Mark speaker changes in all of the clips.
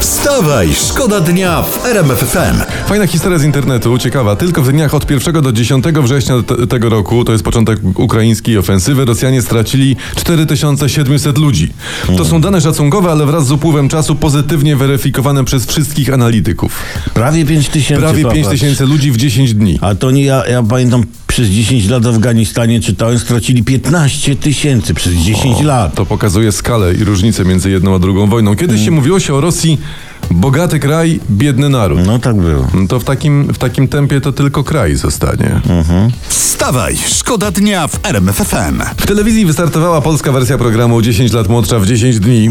Speaker 1: Wstawaj, szkoda dnia w RMF FM.
Speaker 2: Fajna historia z internetu, ciekawa. Tylko w dniach od 1 do 10 września te- tego roku, to jest początek ukraińskiej ofensywy, Rosjanie stracili 4700 ludzi. To są dane szacunkowe, ale wraz z upływem czasu pozytywnie weryfikowane przez wszystkich analityków.
Speaker 3: Prawie 5 tysięcy.
Speaker 2: Prawie
Speaker 3: popatrz.
Speaker 1: tak.
Speaker 2: 5000 ludzi w 10 dni.
Speaker 3: A to nie, ja, ja pamiętam przez 10 lat w Afganistanie czytałem, stracili 15 tysięcy przez 10 lat.
Speaker 2: To pokazuje skalę i różnicę między jedną a drugą wojną. Kiedyś się mówiło się o Rosji bogaty kraj, biedny naród.
Speaker 3: No tak było.
Speaker 2: To w takim, w takim tempie to tylko kraj zostanie.
Speaker 1: Wstawaj, szkoda dnia w RMF FM.
Speaker 2: W telewizji wystartowała polska wersja programu 10 lat młodsza w 10 dni.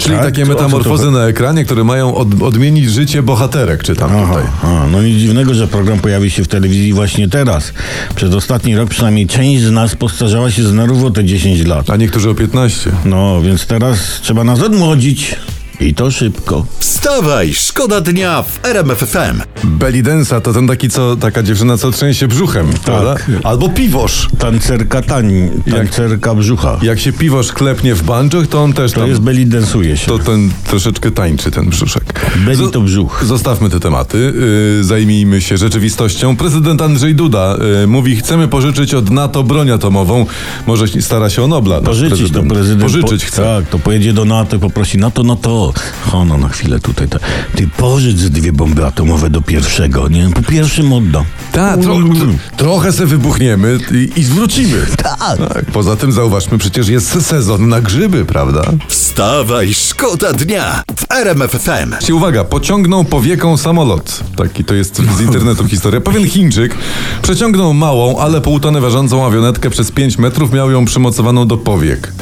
Speaker 2: Czyli
Speaker 3: Tak?
Speaker 2: takie
Speaker 3: To o co
Speaker 2: metamorfozy
Speaker 3: to
Speaker 2: na ekranie, które mają od, odmienić życie bohaterek, czytam tutaj.
Speaker 3: Aha, aha, no nic dziwnego, że program pojawi się w telewizji właśnie teraz. Przez ostatni rok przynajmniej część z nas postarzała się znowu o te 10 lat.
Speaker 2: A niektórzy o 15.
Speaker 3: No, więc teraz trzeba nas odmłodzić. I to szybko.
Speaker 1: Wstawaj, szkoda dnia w RMF FM.
Speaker 2: Belidensa to ten taki, co, taka dziewczyna, co trzęsie brzuchem,
Speaker 3: Tak.
Speaker 2: prawda? Tak. Albo piwosz.
Speaker 3: Tancerka tań, tancerka brzucha.
Speaker 2: Jak się piwosz klepnie w banjoch, to on też
Speaker 3: To
Speaker 2: tam...
Speaker 3: jest belly densuje się.
Speaker 2: To ten troszeczkę tańczy ten brzuszek.
Speaker 3: Belly
Speaker 2: Zo-
Speaker 3: to brzuch.
Speaker 2: Zostawmy te tematy, yy, zajmijmy się rzeczywistością. Prezydent Andrzej Duda yy, mówi, chcemy pożyczyć od NATO broń atomową. Może się- stara się o Nobla. nasz
Speaker 3: Pożyczyć to prezydent.
Speaker 2: Pożyczyć
Speaker 3: po,
Speaker 2: chce.
Speaker 3: Tak, to pojedzie do NATO i poprosi NATO, no to. Hono, na chwilę tutaj. Ta, ty pożycz z dwie bomby atomowe do pierwszego. Nie, po pierwszym oddam.
Speaker 2: Ta, tro,
Speaker 3: Mm.
Speaker 2: tro, trochę se wybuchniemy i, i zwrócimy.
Speaker 3: Tak.
Speaker 2: tak. Poza tym zauważmy, przecież jest sezon na grzyby, prawda?
Speaker 1: Wstawaj, szkoda dnia w RMF FM.
Speaker 2: Ci uwaga, pociągnął powieką samolot. Taki to jest z internetu historia. Pewien Chińczyk przeciągnął małą, ale półtonę ważącą awionetkę przez 5 metrów, miał ją przymocowaną do powiek.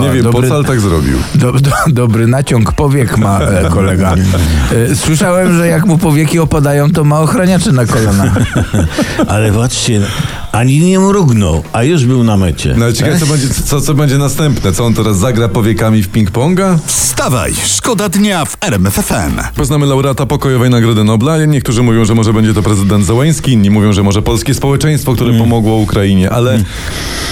Speaker 2: Nie wiem po
Speaker 4: dobry-
Speaker 2: co, ale tak zrobił.
Speaker 4: Do, do, dobry naciąg powiek ma e, kolega. E, słyszałem, że jak mu powieki opadają, to ma ochraniacze na kolanach.
Speaker 3: Ale patrzcie, ani nie mrugnął, a już był na mecie.
Speaker 2: No ale ciekawe, co będzie, co, co będzie następne. Co on teraz zagra powiekami w ping-ponga?
Speaker 1: Wstawaj, szkoda dnia w RMF FM.
Speaker 2: Poznamy laureata pokojowej Nagrody Nobla. Niektórzy mówią, że może będzie to prezydent Zełański, inni mówią, że może polskie społeczeństwo, które
Speaker 3: Mm.
Speaker 2: pomogło Ukrainie, ale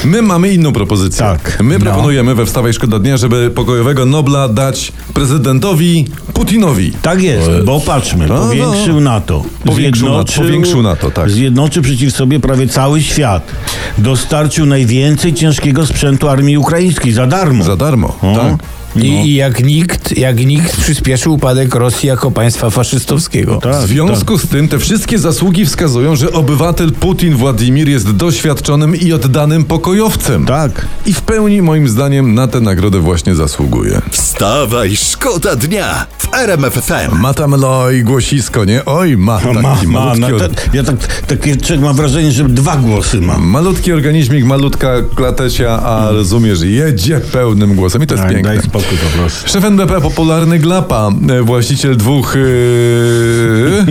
Speaker 2: my mamy inną propozycję.
Speaker 3: Tak.
Speaker 2: My proponujemy we Wstawaj Szkoda Dnia, żeby pokojowego Nobla dać prezydentowi Putinowi.
Speaker 3: Tak jest, bo patrzmy,
Speaker 2: no.
Speaker 3: powiększył NATO.
Speaker 2: Powiększył NATO, powiększył NATO, tak.
Speaker 3: Zjednoczył przeciw sobie prawie cały świat. Dostarczył najwięcej ciężkiego sprzętu armii ukraińskiej za darmo.
Speaker 2: Za darmo, tak?
Speaker 4: I, I jak nikt, jak nikt przyspieszył upadek Rosji jako państwa faszystowskiego.
Speaker 2: W
Speaker 3: Tak,
Speaker 2: związku z tym te wszystkie zasługi wskazują, że obywatel Putin Władimir jest doświadczonym i oddanym pokojowcem.
Speaker 3: tak.
Speaker 2: I w pełni moim zdaniem na tę nagrodę właśnie zasługuje.
Speaker 1: Wstawaj, szkoda dnia w RMF FM.
Speaker 2: Ma tam loj głosisko, nie? Oj, ma taki
Speaker 3: Ma, ma,
Speaker 2: malutki,
Speaker 3: no,
Speaker 2: or-
Speaker 3: te, ja tak, takie, człowiek mam wrażenie, że dwa głosy mam.
Speaker 2: malutki organizmik, malutka klatesia, a rozumiesz, jedzie pełnym głosem i to jest
Speaker 3: Hmm. Tak,
Speaker 2: piękne.
Speaker 3: Daj spokój po prostu.
Speaker 2: Szef NBP, popularny Glapa, e, właściciel dwóch... Yy,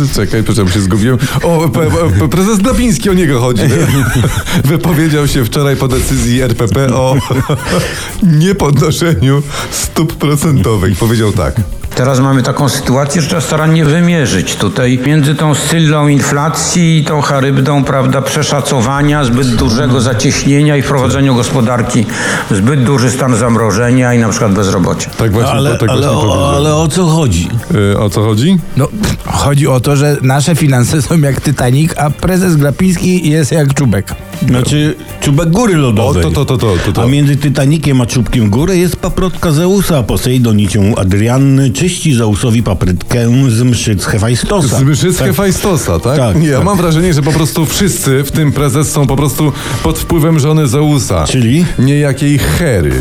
Speaker 2: yy, czekaj, przepraszam, się zgubiłem. O, pe, pe, prezes Glapiński, o niego chodzi. Wypowiedział się wczoraj po decyzji RPP o niepodnoszeniu stóp procentowych. Powiedział tak.
Speaker 5: Teraz mamy taką sytuację, że trzeba starannie wymierzyć tutaj między tą syllą inflacji i tą charybdą, prawda, przeszacowania, zbyt dużego zacieśnienia i wprowadzeniu gospodarki w zbyt duży stan zamrożenia i na przykład bezrobocia.
Speaker 2: Tak właśnie,
Speaker 3: No, Ale,
Speaker 2: tak
Speaker 3: ale,
Speaker 2: właśnie
Speaker 3: o,
Speaker 2: powiedział.
Speaker 3: ale Tak. o co chodzi?
Speaker 2: E, o co chodzi?
Speaker 4: No, chodzi o to, że nasze finanse są jak Titanic, a prezes Grapiński jest jak czubek.
Speaker 3: Znaczy, czubek góry
Speaker 2: O,
Speaker 3: lodowej.
Speaker 2: to, to, to, to, to.
Speaker 3: A między Tytanikiem a czubkiem góry jest paprotka Zeusa, a Posejdon i cię Adrianny czyści Zeusowi paprytkę z mszyc Hefajstosa.
Speaker 2: Zbyszyskie tak. Fajstosa, tak?
Speaker 3: Tak,
Speaker 2: Nie, ja
Speaker 3: tak.
Speaker 2: mam wrażenie, że po prostu wszyscy, w tym prezes, są po prostu pod wpływem żony Zeusa.
Speaker 3: Czyli?
Speaker 2: Niejakiej Hery.